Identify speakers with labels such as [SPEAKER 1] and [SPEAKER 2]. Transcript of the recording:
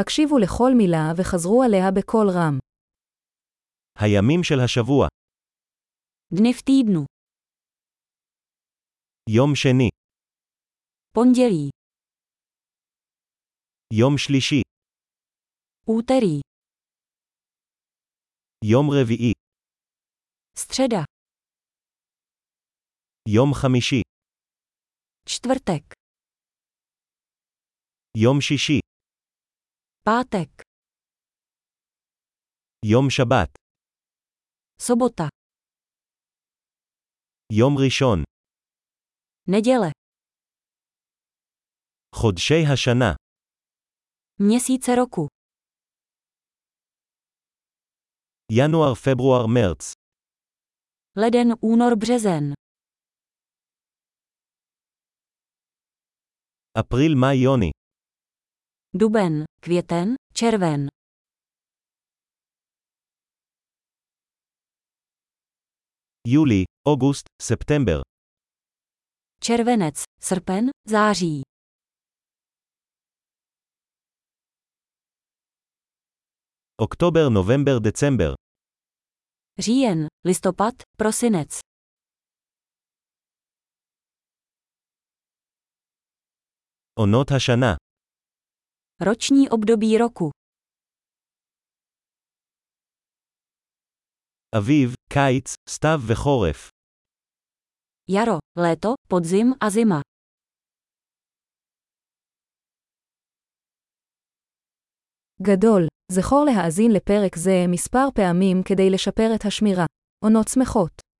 [SPEAKER 1] הקשיבו לכל מילה וחזרו עליה בקול רם.
[SPEAKER 2] הימים של השבוע,
[SPEAKER 3] Dny v týdnu.
[SPEAKER 2] יום שני,
[SPEAKER 3] Pondělí.
[SPEAKER 2] יום שלישי,
[SPEAKER 3] Úterý.
[SPEAKER 2] יום רביעי,
[SPEAKER 3] Středa.
[SPEAKER 2] יום חמישי,
[SPEAKER 3] Čtvrtek.
[SPEAKER 2] יום שישי,
[SPEAKER 3] Pátek.
[SPEAKER 2] יום שבת,
[SPEAKER 3] Sobota.
[SPEAKER 2] יום ראשון,
[SPEAKER 3] Neděle.
[SPEAKER 2] חודשי השנה,
[SPEAKER 3] Měsíce roku.
[SPEAKER 2] ינואר, פברואר, מרץ,
[SPEAKER 3] Leden, únor, březen.
[SPEAKER 2] אפריל, מאי, יוני,
[SPEAKER 3] Duben, květen, červen.
[SPEAKER 2] יולי, אוגוסט, ספטמבר,
[SPEAKER 3] Červenec, srpen, září.
[SPEAKER 2] אוקטובר, נובמבר, דצמבר,
[SPEAKER 3] Říjen, listopad, prosinec.
[SPEAKER 2] עונות השנה,
[SPEAKER 3] Roční období roku.
[SPEAKER 2] אביב, קיץ, סתיו וחורף,
[SPEAKER 3] Jaro, léto, podzim a zima.
[SPEAKER 1] גדול, זכור להאזין לפרק זה מספר פעמים כדי לשפר את השמירה. עונות שמחות.